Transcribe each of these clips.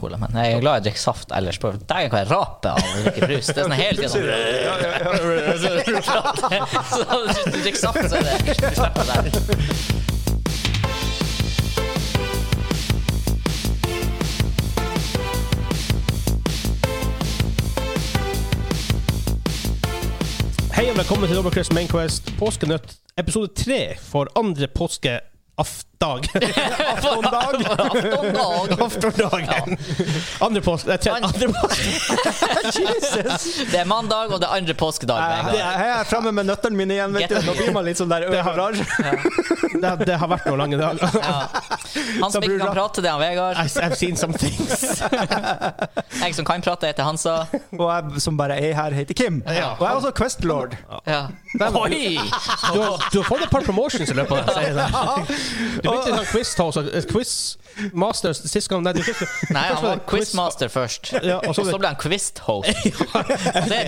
cola, men jeg er glad jeg drikker saft ellers. på Dæven, hva jeg raper av å drikke brus! Det er sånn helt sånn Ja, ja, ja, ja. Så hvis du drikker saft, så er det du slipper det der. Hei og velkommen til Dobbeltkrets Mainquest påskenøtt episode tre for andre påskeafdag. Aftondag. Aftondag. Aftondagen. Andre påske... Nei, tre, Andre- andre påske. Jesus! Det er mandag, og det er andre påskedag. med en Jeg gang. er framme med nøttene mine igjen, vet du. Nå blir man litt sånn der Det har- overrar. Det, det har vært noen lange dager. Han som ikke blir det kan bra. prate, det er han Vegard. I've I've seen some things. Jeg som kan prate, heter Hansa. Og jeg som bare er her, heter Kim. Og jeg er også Questlord. Ja. Oi! Du har, du har fått et par promotions i løpet av den serien. her. Du begynte i sånn quiz house, eh, quiz masters sist gang. Nei, du fikk Nei, han var quizmaster først. Ja, og Og så- så ble han quizhost. Det er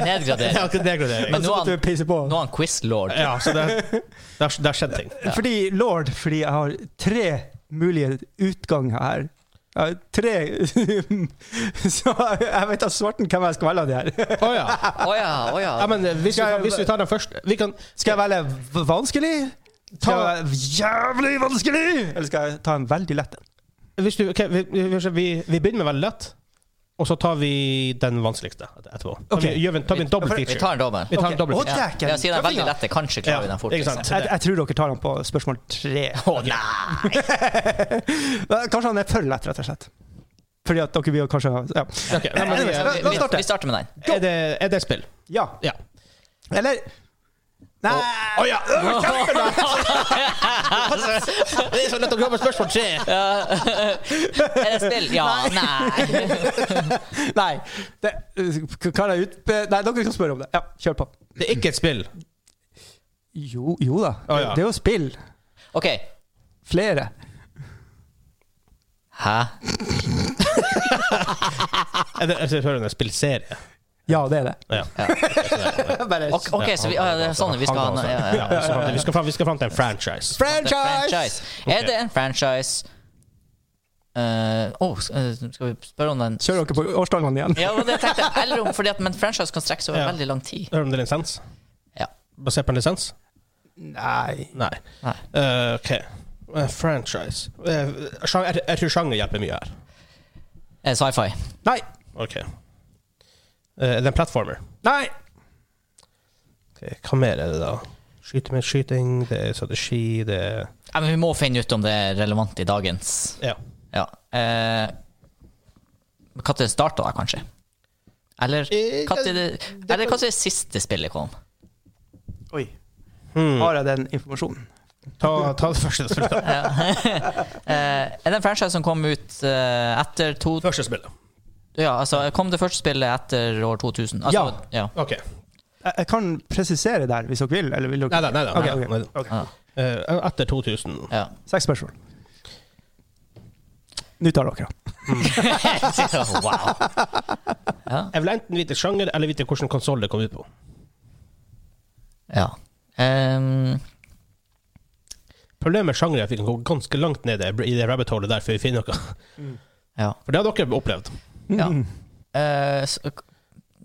Ja, nedgradering. ok, det er gradering. Men nå Så er måtte vi han, pisse på. nå er han quizlord. Ja, så det, det, har, det har skjedd ting. Fordi lord, fordi jeg har tre mulige utganger her. Jeg har tre Så jeg vet da svarten hvem jeg skal velge av de her. Å ja. Å ja, å ja. ja men hvis vi, kan- hvis vi tar den først Vi kan Skal jeg velge v- vanskelig? Skal jeg velge jævlig vanskelig? Eller skal jeg ta en veldig lett en? Hvis du, ok, vi, vi, vi, vi begynner med veldig lett, og så tar vi den vanskeligste et- etterpå. Tar Ok. vi, gjør vi, tar vi en dobbel Vi feature? tar en dommer. Vi tar Ok. en dobbel Å, Ja, feature. dæken. jeg sier den er veldig lette. Kanskje klarer vi den fort. ikke sant? Liksom. Jeg, jeg tror dere tar den på spørsmål tre. Å nei! Kanskje han er for lett, rett og slett. Fordi at dere vil jo kanskje ja. Ok, nei, Så Ja, men, eh, vi, la oss vi, starte. vi starter med den. er, det, er det spill? ja. Ja. Eller Nei Å ja! Det er så lett å glemme spørsmål tre! Er det spill? Ja, nei. Nei. Det, kan jeg utbe... Nei, dere kan spørre om det. Ja, kjør på. Det er ikke et spill. Jo, jo da. Å, ja. Det er jo spill. OK. Flere. Hæ? Er det, jeg hører det er en spillserie. Ja, det er det. Ja. Bare OK, ok, så vi, ja, det er sånn vi skal ha Han den. ga Ja, oss ja. den. Ja, så fram til- Vi skal fram- vi skal fram til en franchise. Det Franchise! er franchise. Er det en franchise? Eh, Å, s- eh, skal vi spørre om den? Kjører dere på årstallene igjen? Ja, det var det jeg tenkte. Eller om, fordi at, men franchise kan strekke seg over Ja. veldig lang tid. Hører du om det er lisens? Ja. Basert på en lisens? Nei. Nei. Nei. Eh, ok. Eh, franchise Eh, sjang- jeg, jeg tror sjanger hjelper mye her. Eh, Sci-fi. Nei. Ok. Eh, er det en platformer? Nei. Ok, Hva mer er det, da? Skyte med skyting, det er strategi, det er Ja, men vi må finne ut om det er relevant i dagens Ja. Ja. Eh, når det starta da, kanskje? Eller Eh, når det, det- eller hva til det siste spillet kom? Oi. Har jeg den informasjonen? Ta, ta det første spillet. Eh, er det en franchise som kom ut eh, etter to Første spillet. Ja, altså, kom det første spillet etter år 2000? Altså, ja. Ok. Jeg, jeg kan presisere der, hvis dere vil. Eller vil Nei dere? da, nei da. Ok, nei da, ok. nei da. Ja. Eh, etter 2000. ja. Seks spørsmål. Nå tar dere. wow. Jeg vil enten vite sjanger eller vite hvilken konsoll det kom ut på. Ja. Ehm, Problemet med sjanger er at vi kan gå ganske langt ned i det rabbit holet der før vi finner noe. ja. For det har dere opplevd. ja. Mm. Eh, så,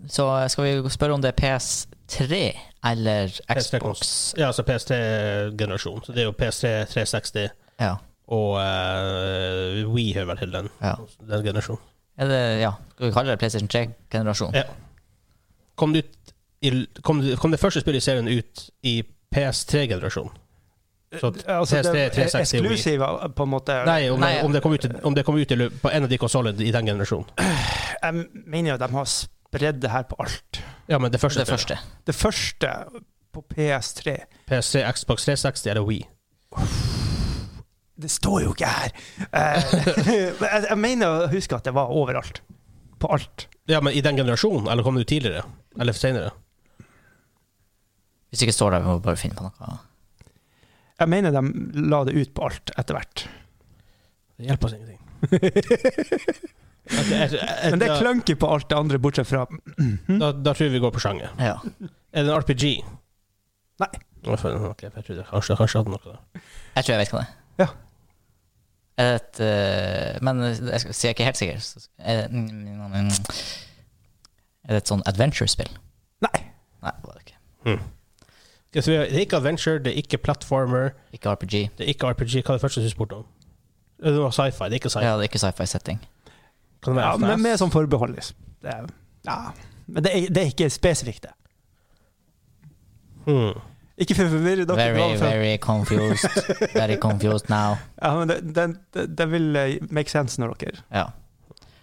så skal vi spørre om det er PS3 eller Xbox? PS3-kons- Ja, altså PS3-generasjon. Så det er jo PS3 360 Ja. og uh, Wii hører vel til den, ja. den generasjonen. Er det, ja. Skal vi kalle det PlayStation 3-generasjon? Ja. Kom, det ut i, kom, det- kom det første spillet i serien ut i PS3-generasjonen? Så at Eh, altså, PS3, 360 og Wii Eksklusiv, på en måte. Nei, om, Nei, det, om, det kom ut, i- om det kom ut i, lø- på en av de konsollene i den generasjonen. Jeg mener jo at de har spredd det her på alt. Ja, men det første. Det første. Det første på PS3 PS3, Xbox 360 eller Wii. Det står jo ikke her! Eh, men jeg, jeg mener å huske at det var overalt. På alt. Ja, men i den generasjonen? Eller kom det ut tidligere? Eller senere? Hvis ikke står der, vi må bare finne på noe. Jeg mener de la det ut på alt etter hvert. Det hjelper oss ingenting. Ok, jeg- jeg- Men det er da- clunky på alt det andre, bortsett fra da, da tror jeg vi går på sjanger. Ja. Er det en RPG? Nei. Hvorfor- Ok, for jeg trodde kanskje kanskje jeg hadde noe der. Jeg tror jeg vet hva det er. Ja. Er det et eh, Men jeg skal- siden jeg er ikke helt sikker. så- Er det, er det et sånn adventure-spill? Nei. Nei, det var det ikke. Det er ikke adventure, det er ikke platformer, Ikke RPG. det er ikke RPG. Hva er det første du spurte om? Eh, Det var sci-fi, det er ikke sci-fi. Ja, det er ikke sci-fi-setting. Kan det være Ja, FNAF? men med sånn forbehold, liksom. Det er, ja. Men det er, det er ikke spesifikt, det. Hmm. Ikke for å forvirre dere. det Very, var for- very confused. Very confused now. Ja, men det- den, den, den vil eh, make sense når dere Ja.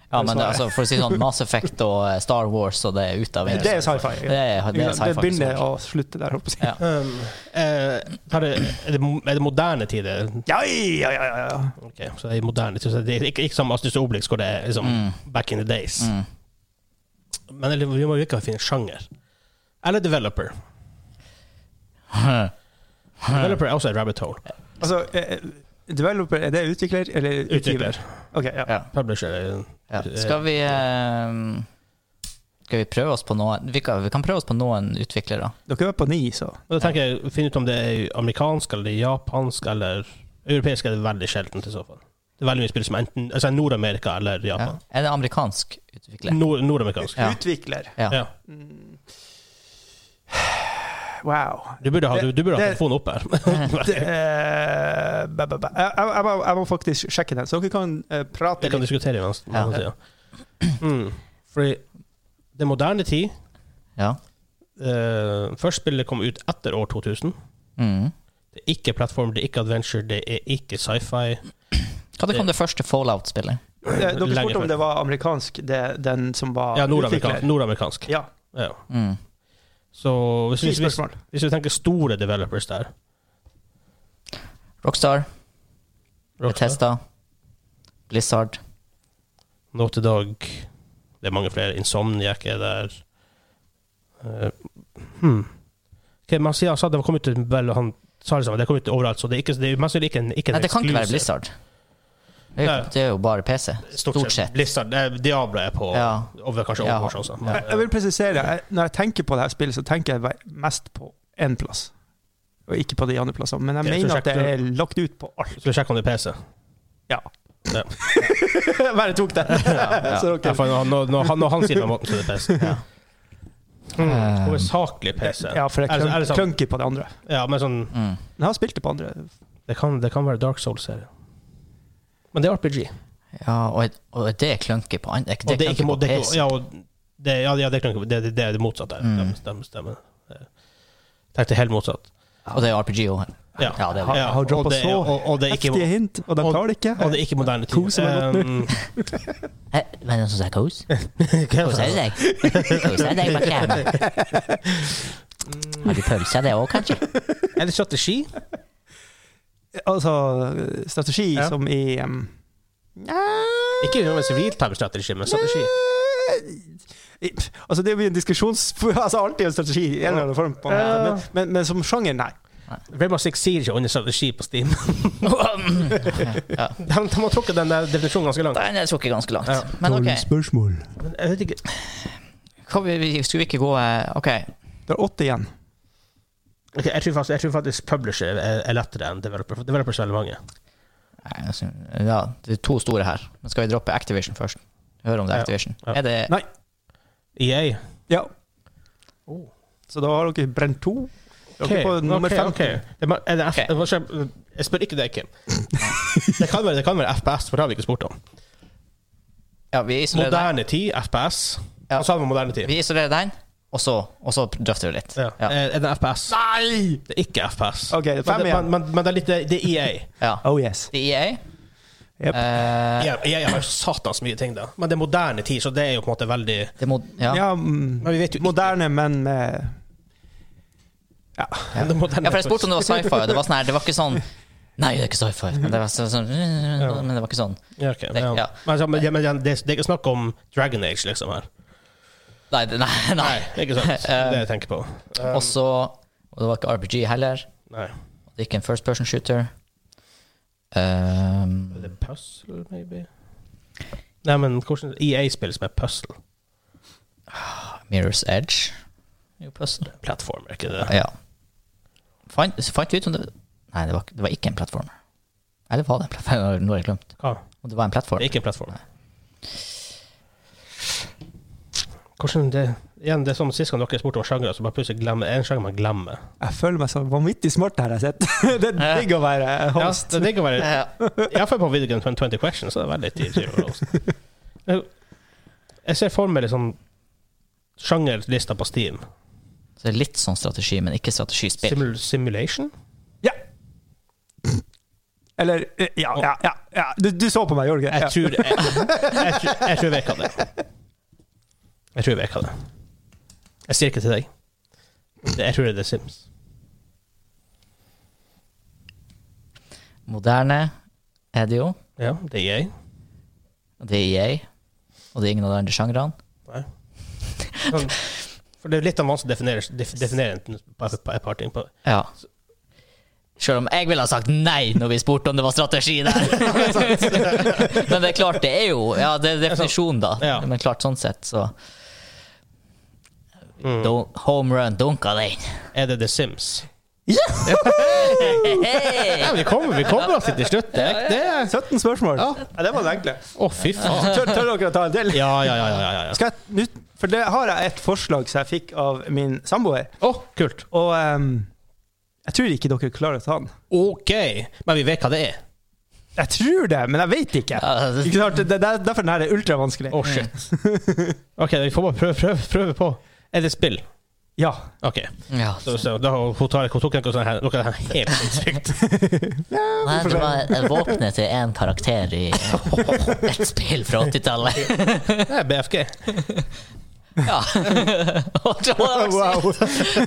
Ja, men det, altså, for å si det sånn, Mass Effect og eh, Star Wars og det er ute av Det er sci-fi. Det er, det er Det sci-fi. begynner og slutter der, håper jeg. Ja. Um, eh, har det, er, det, mo- er det moderne tider? Ja, ja, ja, ja, ja. Ok, så det er moderne tider. så Det er ikke, ikke som Astus Obelix, hvor det er liksom Mm. back in the days. Mm. Men eller, vi må jo ikke finne sjanger. Eller developer. Developer er også et rabbit hole. Altså, eh, developer, er det utvikler eller utgiver? Utvikler. Ok, ja. Ja. Publisher. er- Ja. Skal vi eh, Skal vi prøve oss på noen Vi kan, vi kan prøve oss på noen utviklere. Dere var på ni, så. Og Da tenker jeg Finn ut om det er amerikansk eller japansk eller Europeisk er det veldig sjeldent i så fall. Det er veldig mye spill som enten altså Nord-Amerika eller Ja. Japan. Er det amerikansk utvikler? Nord- Nord-amerikansk. Ja. Utvikler. Ja. Ja. Mm. Wow. Du burde ha, du, du burde ha Det- telefonen oppe her. Det, eh, ba, ba, ba. Jeg, jeg, jeg, må, jeg må faktisk sjekke den, så dere kan eh, prate Vi kan litt. diskutere i venstre. Ja. Ja. Mm. Fordi det moderne tid Ja. eh, Først spillet kom ut etter år 2000. Mm. Det er ikke plattform, det er ikke adventure, det er ikke sci-fi. Hva kom det første Fallout-spillet? Eh, Dere Lenger spurte før. om det var amerikansk, det, den som var Ja, utvikler. nordamerikansk. nordamerikansk. Ja, Ja. Mm. Så hvis, fint hvis, hvis, spørsmål. hvis vi tenker store developers der Rockstar, Rockstar, Bethesda, Blizzard Nå til dag Det er mange flere. Insomniac er der. Eh, hmm. Ok, man sier, han sa det var kommet ut vel, og han sa liksom, det kom ut overalt, så det er ikke, det er, mest sannsynlig ikke en, ikke en Nei, det kan ikke være exclusive. Blizzard. Det er jo, Nei. det er jo bare PC. Stort sett. Blizzard, eh, Diablo er på Ja. over, kanskje Ja. Overwatch også. Ja. Jeg, jeg vil presisere, jeg, når jeg tenker på det her spillet, så tenker jeg ve- mest på én plass. Og ikke på de andre plassene. Men jeg Jeg mener tror at det sjekk- er lagt ut på alt. Skal vi sjekke om det er PC? Bare tok den. ja. Så dere- Ja, for når, når, når, han, når han sier det, måten, så er det PC. Ja. Hmm. Eh. Hovedsakelig PC. Ja, for det Er er det- er det klunk, sant? klunky på det andre. Ja, men sånn Mm. Men jeg har spilt det på andre. Det kan, det kan være Dark Souls-serie. Men det er RPG. Ja, og, og det er clunky på an- Det er ikke Og det er clunky ikke på må- det er PC. ikke- ja, og det, ja, ja, det er klunky. Det, det, det er det motsatte. her. Mm. Ja, stemmer. stemmer. Jeg tenkte helt motsatt. Og det er RPG òg. Ja. Ja, det er Ha- det. Ja, har og droppa det er- så og, og det er ikke, Heftige hint, og de og- tar det ikke. og det er ikke moderne tid. Koser meg godt nå. Um, Eh, Men sånn som jeg kos? hva er Kos det? deg. Kos deg bak her. Har du pølser det òg, kanskje? er det Mm. strategi? Altså, strategi Ja. som i um, Ikke noe siviltime-strategi, men strategi. I- Altså, det blir en diskusjons... Altså, alltid en strategi i en eller annen form. På, en måte. men, men, men som sjanger, nei. Rainbow Six Siege er under strategi på Steam. De, de har trukket den der definisjonen ganske langt. Nei, det tok ikke ganske Ja. langt. Men OK, spørsmål. Men Jeg vet ikke Kan vi- vi- skulle vi ikke gå eh, OK. Det er åtte igjen. Ok, jeg, tror faktisk, jeg tror faktisk publisher er, er lettere enn developer. For developers er veldig mange. Nei, altså, Ja, det er to store her. Men skal vi droppe Activision først? Høre om det er Ja. Activision. Ja. Er det Nei. EA. Ja. Oh. Så da har dere brent to. Dere Ok, er på nummer ok, fem. ok. Det er bare- er det F- Ok. hva skjer- Jeg spør ikke deg, Kim. Det kan være, det kan være FPS, for det har vi ikke spurt om. Ja, vi isolerer den. Moderne tid, FPS. Ja. Hva sa vi om moderne tid? Vi isolerer den, og så, og så drøfter vi litt. Ja. Eh, Ja. Er er det FPS? Nei! Det er ikke FPS. Ok, det er men, fem det, men, igjen. men, men det er litt det er E EA. Ja. Oh yes. Det er EA. Yep. Eh, EA. EA E har satans mye ting, da. Men det er moderne tid, så det er jo på en måte veldig det må, ja. Ja, mm, Men vi vet jo ikke moderne, men eh, med det moderne- Ja, for jeg spurte om det var sci-fi, og det var sånn her, det var ikke sånn Nei, det er ikke sci-fi. Men det var så- sånn Men det var ikke sånn. Ja, ok, Det- ja. ja. Men, altså, men, ja, men det, det er ikke snakk om Dragon Age, liksom, her. Nei, det- nei. nei. Eh. Det er ikke sant. Det er det jeg tenker på. Og så Og det var ikke RPG heller. Nei. Og det er ikke en first person shooter. Ehm, Er det puzzle, maybe? Nei, men hvordan EA-spill som er puzzle? Mirror's Edge. Jo, puzzle. Plattformer, ikke det? Ja. Fant, så fant vi ut om det Nei, det var, ikke- det var ikke en plattform. Eller var det en plattform? Nå har jeg glemt. Hva? Om det var en plattform? Ah, Det er ikke en plattform. Hvordan det Igjen, det er som sist gang dere spurte om sjangere, så bare plutselig glemmer en sjanger man glemmer. Jeg føler meg så vanvittig smart her jeg sitter. Det er digg å være Eh. Ja, host. det er digg å være Ja. Iallfall på Video Game 20 Questions, så det er veldig tidlig. for oss. Jeg- Jeg ser for meg liksom sjangerlista på Steam. Så det er litt sånn strategi, men ikke strategispill. Simul simulation? Ja. Eller eh, Ja, ja, ja. ja. Du, du så på meg, gjorde du Jeg ikke? tror Jeg, jeg, tror- jeg tror jeg vet hva det er. Jeg tror jeg vet hva det er. Jeg sier ikke til deg. Det- Jeg tror det er The Sims. Moderne er det jo. Ja, det er jeg. og Det er EA. Og det er ingen av de andre sjangrene. Nei. Sånn, For det er litt av vanskelig å definere, def, definere en- på et på et par ting. På. Ja. Selv om jeg ville ha sagt nei når vi spurte om det var strategi der. men det er klart, det er jo Ja, det er definisjonen, da. Ja. Men klart, sånn sett, så Mm. Dun- Home run dunka den. Er det The Sims? Hey! Ja, vi kommer vi kommer oss til slutt. Det, det er 17 spørsmål. Ja. det var det enkle. Å, fy faen. Tør, tør dere å ta en til? Ja, ja, ja. ja, ja, ja. Skal jeg, nu- for det har jeg et forslag som jeg fikk av min samboer. Å, kult. Og ehm, jeg tror ikke dere klarer å ta den. OK. Men vi vet hva det er. Jeg tror det, men jeg vet ikke. Ja, det- Mm. Ikke sant? Det, det, er derfor den her er ultravanskelig. Å, shit. OK, vi får bare prøve, prøve, prøve på. Er det spill? Ja. OK. Ja, Så, så, da, hun, tar, hun tok noe sånt her, noe her helt sinnssykt. Nei, det var våpenet til én karakter i et spill fra 80-tallet. Det er BFG. Ja. Og det var det også- Wow.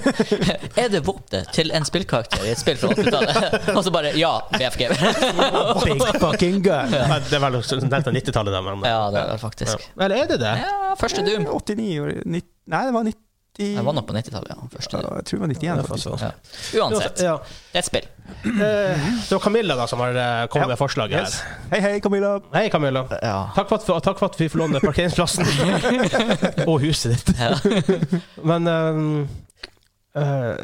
er det våpenet til en spillkarakter i et spill fra 80-tallet? Og så bare ja, BFG. Big fucking gun. Nei, Det er vel sånn delt av 90-tallet, der, men Ja, det er det faktisk. Ja. Eller er det det? Ja, første Doom. 89 og 90 Nei, det var 90 Jeg var nok på 90-tallet, ja. Første Ja, Doom. Jeg tror det var 91. faktisk. Ja. Uansett, det Ja. er et spill. Eh, Det var Camilla da som har eh, kommet Ja. med forslaget Yes. her. Hei, hei, Camilla. Hei, Camilla. Ja. Takk for, at, for- takk for at vi får låne parkeringsplassen og huset ditt. Ja. Men ehm, eh,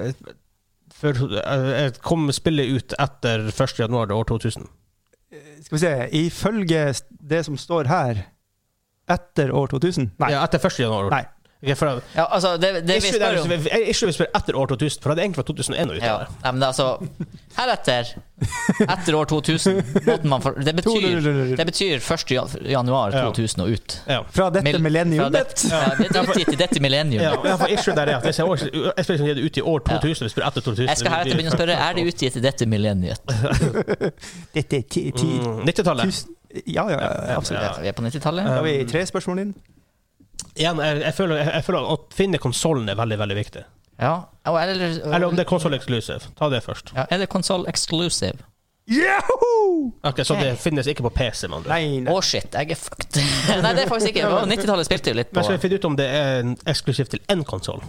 for, eh, kom spillet ut etter 1. januar år 2000? Skal vi se. Ifølge det som står her, etter år 2000 Nei. Ja, etter 1. januar. Nei. Ok, for, ja, altså, det, det vi ikke, spør om det, ikke vi spør etter år 2000, for det hadde egentlig vært 2001 og ute ja. der. Nei, men altså, heretter, etter år 2000 måten man for, det, betyr, det betyr 1. jan- januar Ja. 2000 og ut. Ja. Fra dette Mil- Fra millenniumet. dette, ja, dette er utgitt i dette Ja, millenniumet. ja, for issue der er at hvis jeg, også- jeg spiller som det er ute i år 2000, vi spør etter 2000 Jeg skal heretter begynne å spørre er det utgitt i dette millenniet. Dette er ti, ti, Mm, 90-tallet. tusen Ja, ja, ja, Um, absolutt. Ja, vi er på 90-tallet. Da har vi tre spørsmål inn. Igjen, jeg, jeg, føler, jeg, jeg føler at å finne konsollen er veldig, veldig viktig. Ja. og er det- Eller om det er console exclusive. Ta det først. ja, er det console exclusive? Yahoo! Ok, Så det finnes ikke på PC, med andre ord. Nei, Å, nei. shit, jeg er fucked. Nei, det er faktisk ikke. det var- 90-tallet spilte jo litt Men skal på vi finne ut om det er en eksklusivt til én konsoll?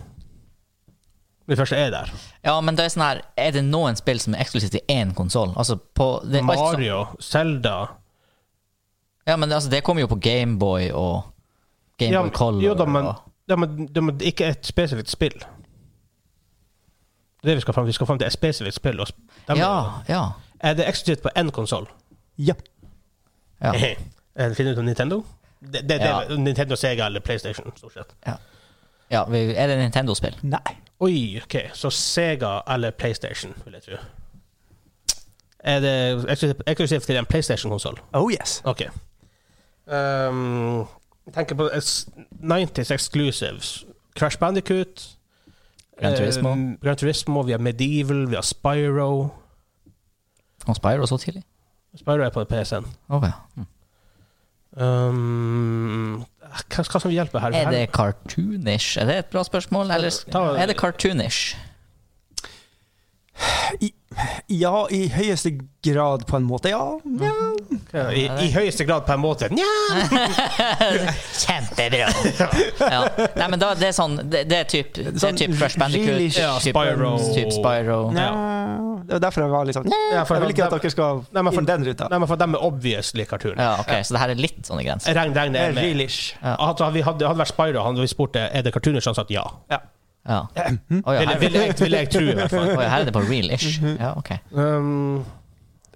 Det første er der. Ja, men det er sånn her Er det noen spill som er eksklusivt til én konsoll? Altså, på det, er alt som- Mario, Zelda Ja, men altså, det kommer jo på Gameboy og Ja, Gameboy men- Color. Jo da, men, og- ja, men, ja, men ikke et spesifikt spill. Det er det vi skal fram til. Vi skal fram til et spesifikt spill. Og sp dem- Ja, ja. Er det eksklusivt på én konsoll? Ja. Ja. Eh, Finner du ut om Nintendo? Det, det, det, Ja. Nintendo, Sega eller PlayStation, stort sett. ja vi- er det Nintendo-spill? Nei. Oi, ok. Så Sega eller PlayStation, vil jeg tro. Er det eksklusivt- eksklusivt til en PlayStation-konsoll? Oh yes. OK. Ehm, jeg tenker på es- 90s exclusives. Crash Bandicoot. Gran Turismo. eh, Gran Turismo. Vi har Medieval, vi har Spyro. Kom Spyro så tidlig? Spyro er på PC-en. Ok. Mm. Ehm, hva, hva som hjelper her? Er det cartoonish? Er det et bra spørsmål? Eller Ta- er det cartoonish? Ja, i høyeste grad, på en måte. Ja. ja. Her- I, I høyeste grad på en måte. Nja! Kjempebra! ja. Nei, men da, det er sånn Det, det er typ Det er Sånn typ Crash Bandicoot, really typ, Spyro. typ Spyro. Ja. Det var derfor jeg var litt sånn Ja, Jeg for- vil ikke at dere skal Nei, men for- inn den ruta. Nei, men for dem er obviously cartoon. Ja, ok, Så det her er litt sånn i grensen. Jeg regner, regner jeg Det er med. realish. Ja. Hadde, hadde, vi- hadde det vært Spyro, hadde vi spurt det, er det cartoonish, han sagt ja. Ja. Mm. Å ja, Ville her, vil jeg, vil jeg tro, i hvert fall. Mm. å ja, her er det på real-ish. Ja, ok. Um,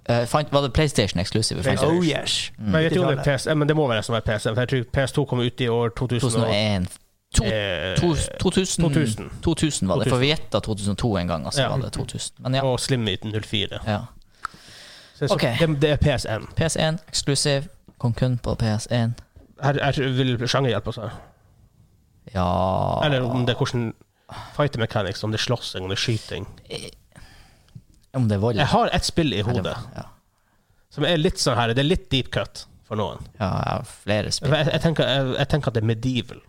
Eh, fant, var det PlayStation Exclusive? vi fant ut? Oh PlayStation. yes. Men, jeg vet jo om det er PS, eh, men det må være som er PS, for jeg tror PS2 kom ut i år 2001. 2001. To- Eh, to- 2000, 2000. 2000 var det, for vi gjetta 2002 en gang. Altså, Ja. var det 2000. Men ja. Og Slim Meet 04. ja. Så, så Ok. det, det er PSN. PS1 Exclusive kom kun på PS1. Her, her vil sjanger hjelpe oss her. Ah. Ja Eller om det er hvordan fighter mechanics, om det er slåssing, om det er skyting. Om det er vold. Jeg har ett spill i Eller- hodet Ja. som er litt sånn her, det er litt deep cut for noen. ja, jeg har flere Jeg, spill. jeg, jeg, tenker, jeg, jeg tenker at det er medieval.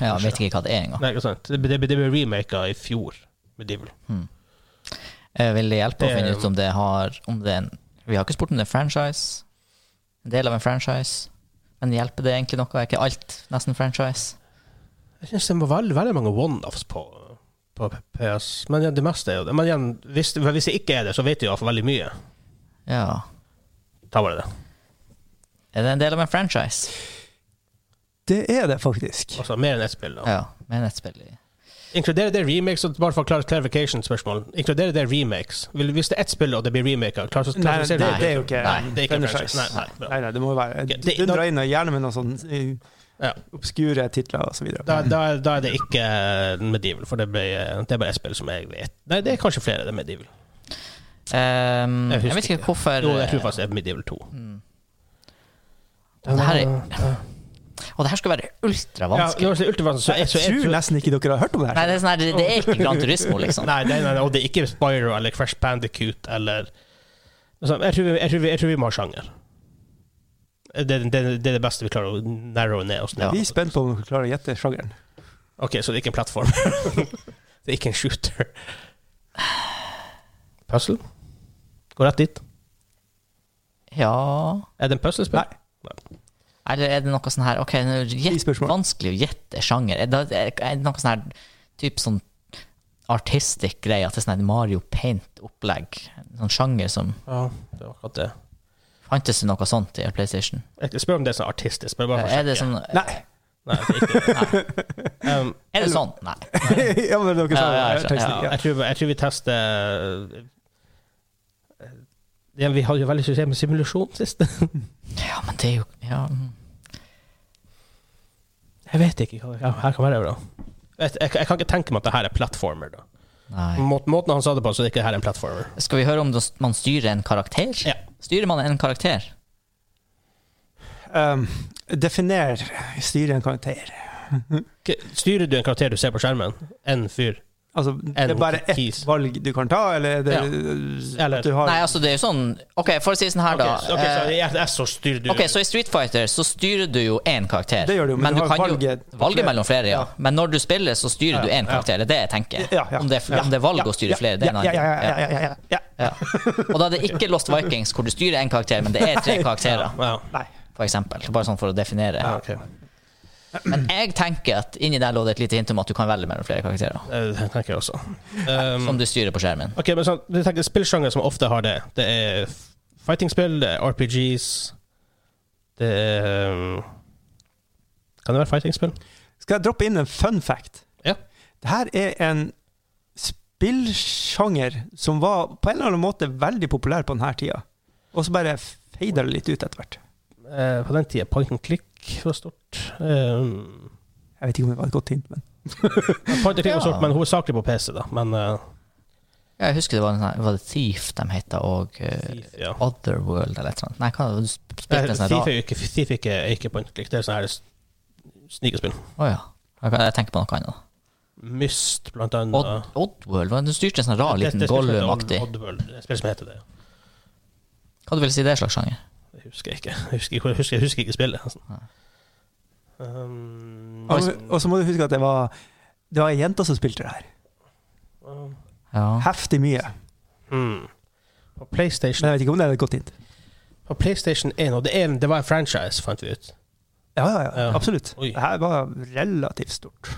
Ja, jeg vet ikke hva det er engang. Nei, ikke sant? Det, det, det ble remaka i fjor. Medieval. Eh, Vil det hjelpe å Det- finne ut om det har om det er en, Vi har ikke spurt om det er en franchise. En del av en franchise. Men hjelper det egentlig noe? Er ikke alt nesten franchise? Jeg synes det var veldig, veldig mange one-offs på, på PS. Men ja, det meste er jo det. Men igjen, hvis, hvis det ikke er det, så vet jeg iallfall veldig mye. Ja. Ta bare det. Er det en del av en franchise? Det er det faktisk. Altså mer enn ett spill. da. Ja. Med nettspill i Inkluderer det remakes? og Bare for å klare clarification-spørsmål. Inkluderer det remakes? Vil- Hvis det er ett spill og det blir remaka klar, Nei, så det, klassifiserer det du er jo ikke Nei, det er ikke en franchise. Nei, nei, bra. Nei, nei, det må jo være Ok, det- Du drar inn og gjerne med noen sånne eh, Ja. obskure titler og så videre. Da, da, da er det ikke eh, medieval, for det, ble, det er bare ett spill som jeg vet. Nei, det er kanskje flere. det er medieval. Ehm, Jeg jeg, husker vet ikke ikke. hvorfor eh, Jo, jeg tror faktisk det er medieval 2. Mm. Det her er, og det her skal være ultravanskelig. Ja, det var ultravanskelig, så jeg, så Jeg tror nesten ikke dere har hørt om det her. Nei, det er, sånn her, det, det er ikke Gran Turismo, liksom. Nei, nei, nei, nei, og det er ikke Spyro eller Crash Bandicoot eller altså, jeg, tror vi, jeg, tror vi, jeg tror vi må ha sjanger. Det, det, det er det beste vi klarer å narrow ned oss ned. Vi er spent på om dere klarer å gjette sjangeren. Ok, så det er ikke en plattform. det er ikke en shooter. Puzzle? Gå rett dit. Ja Er det en puzzlespill? Eller er det noe sånn her Ok, nå er det Ti gjett- spørsmål. vanskelig å gjette sjanger. Er det, er det noe sånn her typ sånn artistic greie? At det er sånn her Mario Paint-opplegg? Sånn sjanger som Ja, det var akkurat det. Fantes det noe sånt i PlayStation? Jeg spør om det er sånn artistisk. Bare bare for å Er det sjekke. sånn Nei! Nei, det er ikke det. um, Er det sånn? Nei. ja, men dere sa Ja, ja, jeg det. Jeg skjønner, tenkte ja. ikke, Jeg tror, jeg tror vi tester eh, ja, Vi hadde jo veldig suksess med simulasjon sist. Ja, men det er jo Ja. mm. Jeg vet ikke hva ja, Her kan være bra. Jeg, jeg, jeg kan ikke tenke meg at det her er platformer. da. Nei. Måten, måten han sa det på, så er ikke det her en platformer. Skal vi høre om da- man styrer en karakter? Ja. Styrer man en karakter? ja. Um, definer styre en karakter. K- Styrer du en karakter du ser på skjermen? En fyr? Altså, det er bare ett keys. valg du kan ta, eller er det Eller- at du har Nei, altså det er jo sånn OK, for å si sånn her, Ok, da. eh, så- ok, så i RS så styrer du Ok, så i Street Fighter så styrer du jo én karakter. Det gjør du jo, men du har kan valget jo på valget flere. mellom flere, ja. Ja. Men når du spiller, så styrer du én karakter. Det er det jeg tenker. Ja, ja. Om, det er, fl- om det er valg å styre flere, det er en ja, ja, ja, annen. ja, ja, ja, ja. Ja. Og da er det ikke Lost Vikings hvor du styrer én karakter, men det er tre karakterer, Ja. Nei. for eksempel. Bare sånn for å definere. Ja, ok. Men jeg tenker at inni der lå det et lite hint om at du kan velge mellom flere karakterer. Eh, Det tenker jeg også. Um, Mm. Som du styrer på skjermen. ok, men sånn, jeg tenker Spillsjanger som ofte har det, det er f- fighting-spill, det er RPGs Det er um, Kan det være fighting-spill? Skal jeg droppe inn en fun fact? Ja. Det her er en spillsjanger som var på en eller annen måte veldig populær på denne tida, og så bare fader det litt ut etter hvert. Eh, på den tida point and click var stort. Um, Jeg vet ikke om det var et godt hint, men point and click var Ja. stort, men hovedsakelig på PC, da. Men eh, Ja, jeg husker det var, en sånn, var det Thief de heter, og eh, Thief, ja. Otherworld eller et eller annet. Nei, hva du sp- Eh, spilte en sånn Thief her er da? jo ikke, Thief er ikke, er ikke point and click, det er sånn her s- snikespill. Å ja. Jeg jeg tenker på noe annet. Myst, blant annet. Odd, Oddworld? hva- Du styrte en sånn rar Det- det- liten det spillet heter Gollum-aktig. Odd- Oddworld. Det er et spill som heter det. Hva du vil si det er slags sjanger? Det husker jeg ikke. Jeg husker, ikke- jeg husker, jeg husker ikke spillet. Altså. Um, Og så- og så må du huske at det var Det var ei jente som spilte det her. Ja. Heftig mye. hmm. Men På PlayStation, jeg vet ikke om det er et godt hint. på PlayStation 1, og det, er en, det var en franchise, fant vi ut. Ja, ja, ja. Ja. Absolutt. Oi. Det her var relativt stort.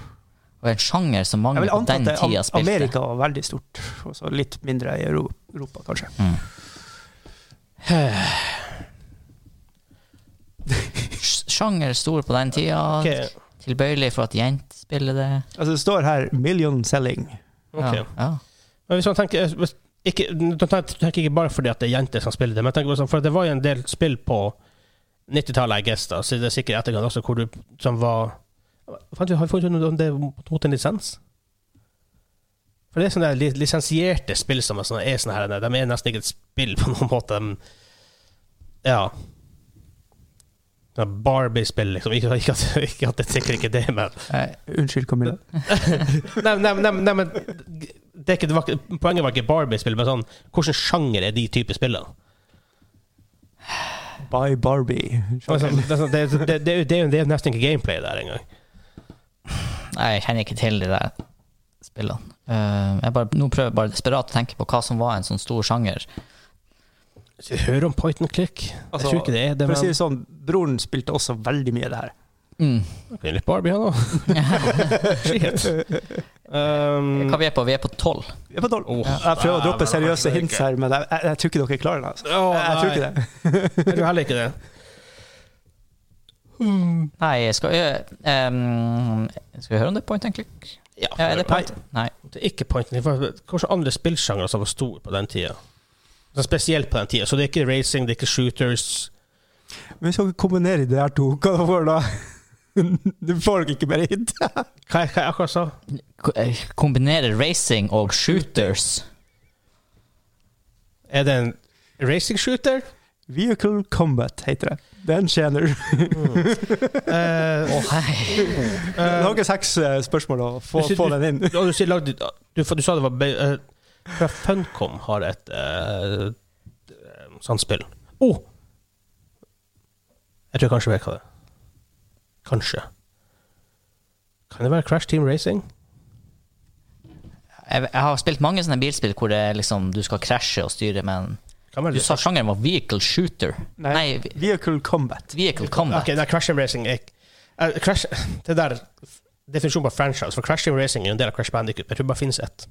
Og en sjanger som mange Jeg vil på anta den at det, tida Am- spilte. Amerika var veldig stort, og så litt mindre i Euro- Europa, kanskje. Mm. Sj- Sjanger stor på den tida. Ok, Tilbøyelig for at jenter spiller det. Altså, det står her 'million selling'. ok. Ja, ja. Men hvis man tenker hvis- ikke, nå tenker jeg ikke bare fordi at det er jenter som spiller det, men jeg tenker bare sånn, for det var jo en del spill på 90-tallet, jeg guess, da, så det er sikkert i etterkant også, hvor du som var Fant vi, Har vi funnet ut om det mot en lisens? For det er sånne li- lisensierte spill som er sånne, er sånne her, de er nesten ikke et spill på noen måte. De, ja. Det er Barbie-spill, liksom. Ikke, ikke, at, ikke at det sikkert ikke er det, men Nei. Unnskyld, Camilla. Nei, nei, nei, nei men det er ikke, det var, ikke- Poenget var ikke Barbie-spill, men sånn Hvilken sjanger er de type spillene? By Barbie. Det, er sånn- det, er sånn- det, er- det, er jo- det, er jo- det er jo nesten ikke gameplay der engang. Nei, jeg kjenner ikke til de der spillene. Eh, jeg bare, nå prøver jeg bare desperat å tenke på hva som var en sånn stor sjanger. Så jeg Hører om point and click? Altså, jeg tror ikke det er det. For Men, å si det sånn, broren spilte også veldig mye det her. Mm. Det er litt Barbie her nå. Shit. Um, Hva vi er på? Vi er på tolv. Jeg, er på tolv. Åh, jeg prøver å dæven, droppe det seriøse orker jeg hints ikke. her, men jeg, jeg, jeg tror ikke dere klarer det. Altså. Åh, Jeg, jeg tror nei. ikke det. Jeg tror heller ikke det. Nei, skal vi, ehm, skal vi høre om det er point and click? Ja, er det point? Nei. Det er ikke point and click. Hvilke andre spillsjangre som var store på den tida? Så Spesielt på den tida. Så det er ikke racing, det er ikke shooters. Men hvis dere kombinerer de her to, hva da får dere da? Du får dere ikke mer hint. Hva hva jeg akkurat sa? Ko- eh, Kombinere racing og shooters. Er det en racing shooter? Vehicle Combat heter det. Det er en sjener. Å, Eh, hei. Det eh, har ikke seks eh, spørsmål å få, Du sier- få den inn. Ja, du, sier lagd, du, for du sa det var be- eh, Fra Funcom har et uh, sånt spill. Å! Oh! Jeg tror jeg kanskje jeg vet hva det er. Kanskje. Kan det være Crash Team Racing? Jeg, jeg har spilt mange sånne bilspill hvor det er liksom, du skal krasje og styre, men Kan være du sa sjangeren var vehicle shooter. Nei. Nei, vi- Vehicle Combat. vehicle combat. Ok, nei, Crash Team Racing er eh, Crash, Det der definisjonen på franchise, for Crash Team Racing er en del av Crash Bandicoot. Jeg tror det bare finnes ett.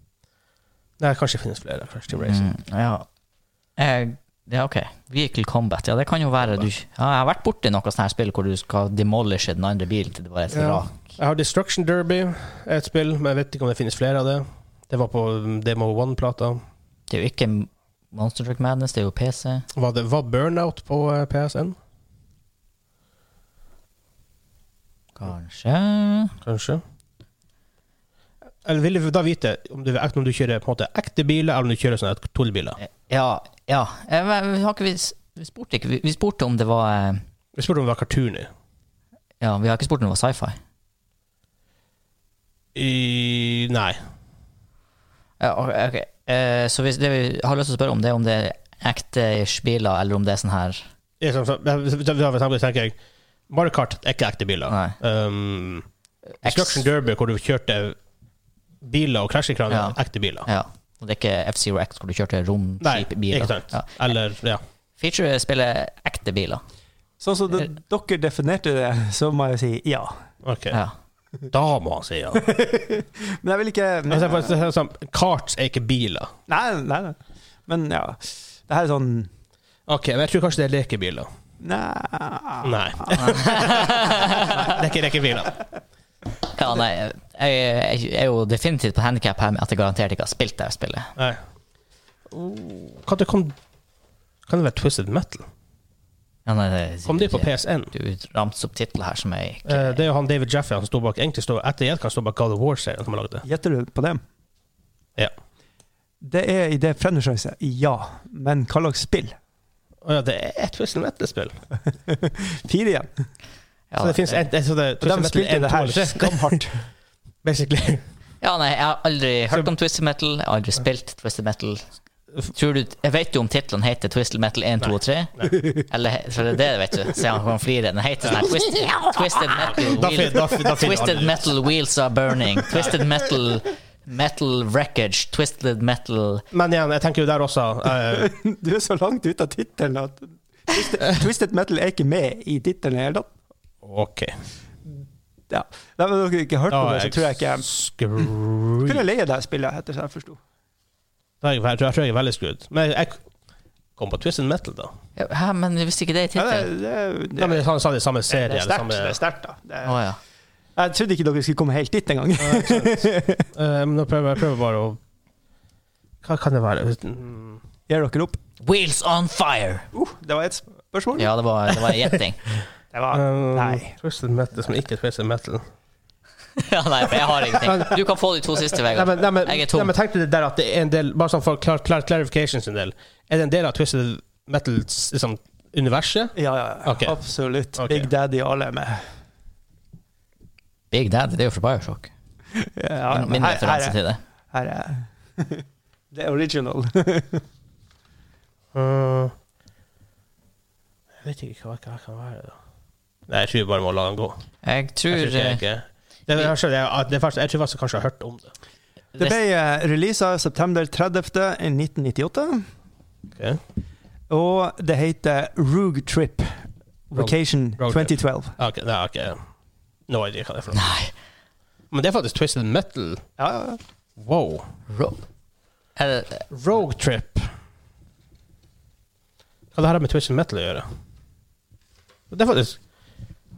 Nei, kanskje det finnes flere. Crash Team Racing. Mm, ja. Eh, ja, ok. Vehicle combat. Ja, det kan jo være du ja, Jeg har vært borti noe sånt her spill hvor du skal demolishe den andre bilen til det bare er et Ja. rak. Jeg har Destruction Derby, et spill, men jeg vet ikke om det finnes flere av det. Det var på mm, Demo One-plata. Det er jo ikke Monster Truck Madness, det er jo PC. Var, det- var Burnout på eh, PSN? Kanskje Kanskje. Eller vil du da vite om du, om du kjører på en måte ekte biler, eller om du kjører sånne tullbiler? Ja. ja. Eh, men Vi, har ikke, vi, s- vi spurte ikke. Vi, vi spurte om det var eh, Vi spurte om det var cartoony. Ja, vi har ikke spurt om det var sci-fi. I Nei. Ja, ok, ok. Eh, så hvis det vi har lyst til å spørre om, det er om det er ekte biler, eller om det er sånn her Det er sånn som- ja, hvis- hvis- hvis- tenker jeg Mario Kart er ikke ekte biler. Nei. Um, X- Destruction Derby, hvor du kjørte biler og krasjekraner, Ja. er ekte biler. Ja. Og det er ikke F-Zero X hvor du kjørte Nei, romskipbiler. ikke sant. Ja. Eller, ja. Feature spiller ekte biler. Sånn som Eh. det- dere definerte det, så må jeg si ja. Ok. Ja. Da må han si ja. Men jeg vil ikke Altså, for, Nei, det er sånn, karts er ikke biler. nei, nei. Men ja. Det her er sånn Ok, men jeg tror kanskje det er lekebiler. Nei. Nei. det Ah. er ikke lekebiler. Ja, nei, jeg, jeg, jeg er jo definitivt på handikap her med at jeg garantert ikke har spilt det her spillet. Nei. Kan det, kom, kan det være Twisted Metal? Ja, nei, det- Kom de på PSN? Du ramser opp titler her som jeg ikke Eh, det er jo han David Jaffe han sto bak egentlig står, etter jeg kan stå bak God of War-serien som har laget det. Gjetter du på det? Ja. Det er i det franchiset, ja. Men hva slags spill? Å ja, det er et Twisted Metal-spill. Fire igjen. ja, så det finnes en, så det, Og de Twisted Metal spilte en, det to her eller tre, skamhardt. Basically. Ja, nei, jeg har aldri hørt Så- om Twisted Metal. Jeg har aldri spilt Twisted Metal. Tror du, jeg vet du om titlene heter Twisted Metal 1, 2 og 3? Eller he- for det er det, vet du. Så han kan flire. Den heter sånn her Twist, Twisted Metal Da fin- da fin- da finner Wheels Twisted alle. Metal Wheels Are Burning. Twisted Metal Metal Wreckage. Twisted Metal Men igjen, jeg tenker jo der også eh, Du er så langt ute av tittelen at Twisted, Twisted Metal er ikke med i tittelen i det hele tatt. OK. Ja. Nei, men dere ikke har hørt Da om det, er så tror jeg ikke jeg screwed. kunne leie det spillet, etter som jeg forsto. Da er jeg, jeg, tror, jeg tror jeg er veldig skrudd. Men jeg, jeg kom på Twisted Metal, da. Ja, Hæ, men hvis ikke det er Ja, det, tittelen? det, det, Nei, men Han sa det i samme det serie. er eller sterkt, det er samme, sterkt, da. Det Å er, ja. jeg trodde ikke dere skulle komme helt dit engang. Eh, men Nå prøver jeg prøver bare å Hva kan det være? Mm. Gir dere opp? Wheels on fire! Uh, det var ett spørsmål. Ja, det var, det var en gjetting. Det var Nei. Um, Twisted metal som ikke er twisted metal. ja, nei, for jeg har ingenting. Du kan få de to siste, Nei, Vegard. men, nei, men, Jeg er tom. nei, men tenkte det der at det er en del Bare sånn for klar, klar, clarification sin del. Er det en del av twisted metals liksom, universet? Ja, ja, ja. Ok. absolutt. Ok. Big Daddy alle er med. Big Daddy, det er jo fra Bioshock. Ja, men Min her- her referanse er- til det. Her er The original. Mm. jeg vet ikke hva det kan være. da Nei, jeg tror vi bare må la den gå. Jeg tror Jeg tror ikke, jeg, eh, ikke. Det, jeg, jeg, jeg, det er faktisk, jeg tror faktisk jeg kanskje har hørt om det. Det ble eh, releaset september 30. i 1998, Ok. og det heter Rogue Trip Vacation Road Trip. 2012. Ah, ok, Nei, ok. No idea hva det er for noe. Nei. Men det er faktisk twisted metal. Ja, ja, ja. Wow. Ro er det, Rogue Trip. Hva det her har med Twisted Metal å gjøre? Det er faktisk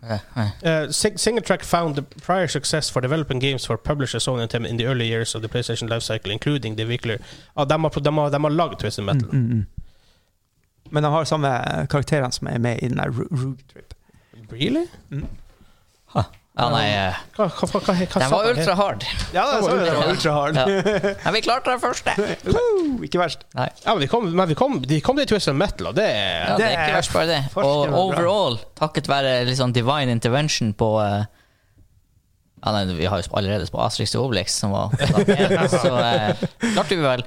eh, eh. Uh, Sing- Singletrack found the prior success for developing games for publishers Sony and Nintendo in the early years of the PlayStation life cycle, including the vehicular Ja, de, har, de, har, de har lagd Twisted Metal. Mm, mm, mm. Men de har samme karakterene som er med i den der Ro- Rogue Trip. Really? Ja, nei. eh, Hva, hva, hva, hva, hva Den var ultra hard. Ja, det var var, det var ultra hard. Ja. Men vi klarte den første. Woo, ikke verst. Nei. Ja, men de kom, men vi kom, de kom til Twisted Metal, og det er Ja, det Det er ikke er verst, bare det. forskning Og var bra. overall, takket være litt sånn divine intervention på eh, ja, nei, Vi har jo sp- allerede på Astrix og Obelix, som var Så eh, klarte vi vel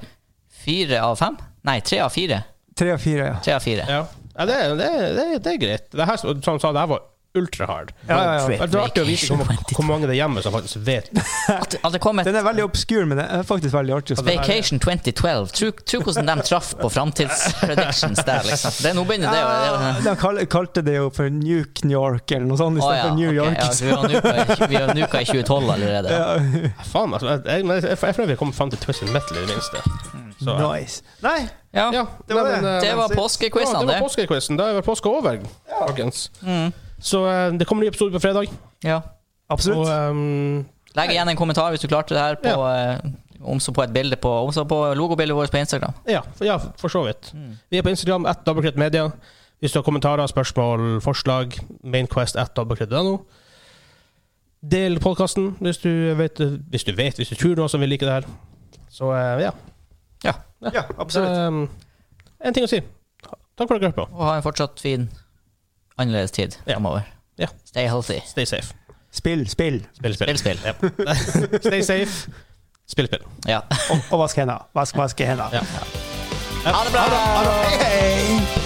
fire av fem? Nei, tre av fire. Tre av fire, ja. Tre av fire. Ja, ja det, er- det, er- det, er- det er greit. Det her, som som sa, det her var ultra hard. ja, ja, ja. Road trip, Det er artig å vite vacation, hvor, hvor 20. mange det er hjemme som faktisk vet At at det kom et Den er veldig obskur, men den er faktisk veldig artig. å spille. Vacation 2012. Tro, tro hvordan de traff på framtidspredictions der, liksom. Det, nå begynner det å Ja, det- de kal- kalte det jo for Nuke New York eller noe Å sånt istedenfor ja, for New ok, York. ja, så vi har nuka i- vi har nuka i 2012 allerede. Faen, altså. Jeg, jeg, jeg, jeg føler vi kom fram til Twisted Metal, i det minste. Så, Nice. Nei, Ja, Ja, Det var nei, det. men, eh, det var Ja, påskekvisten, det var det. Mm. påskequizen. Da er vel påska over, folkens. Så eh, det kommer en ny episode på fredag. Ja. Og absolutt. ehm, Legg igjen en kommentar hvis du klarte det her, på, eh, om så på et bilde på, om så på logobildet vårt på Instagram. ja, for, ja, for så vidt. Mm. Vi er på Instagram, at dobbeltkrittmedia. Hvis du har kommentarer, spørsmål, forslag, mainquest at dobbeltkritt.no. Del podkasten hvis du vet Hvis du vet, hvis du tror noen som vil like det her. Så eh, ja. Ja. Ja, absolutt. Ehm, en ting å si. Takk for at dere hørte på. Og ha en fortsatt fin, annerledes tid Ja. fremover. Ja. Stay healthy. Stay safe. Spill, spill. Spill spill. Spill spill. Ja. Stay safe. Spill spill. Ja. Og, og vask hendene. Vask, vask hendene. Ha det bra! Hei, hei.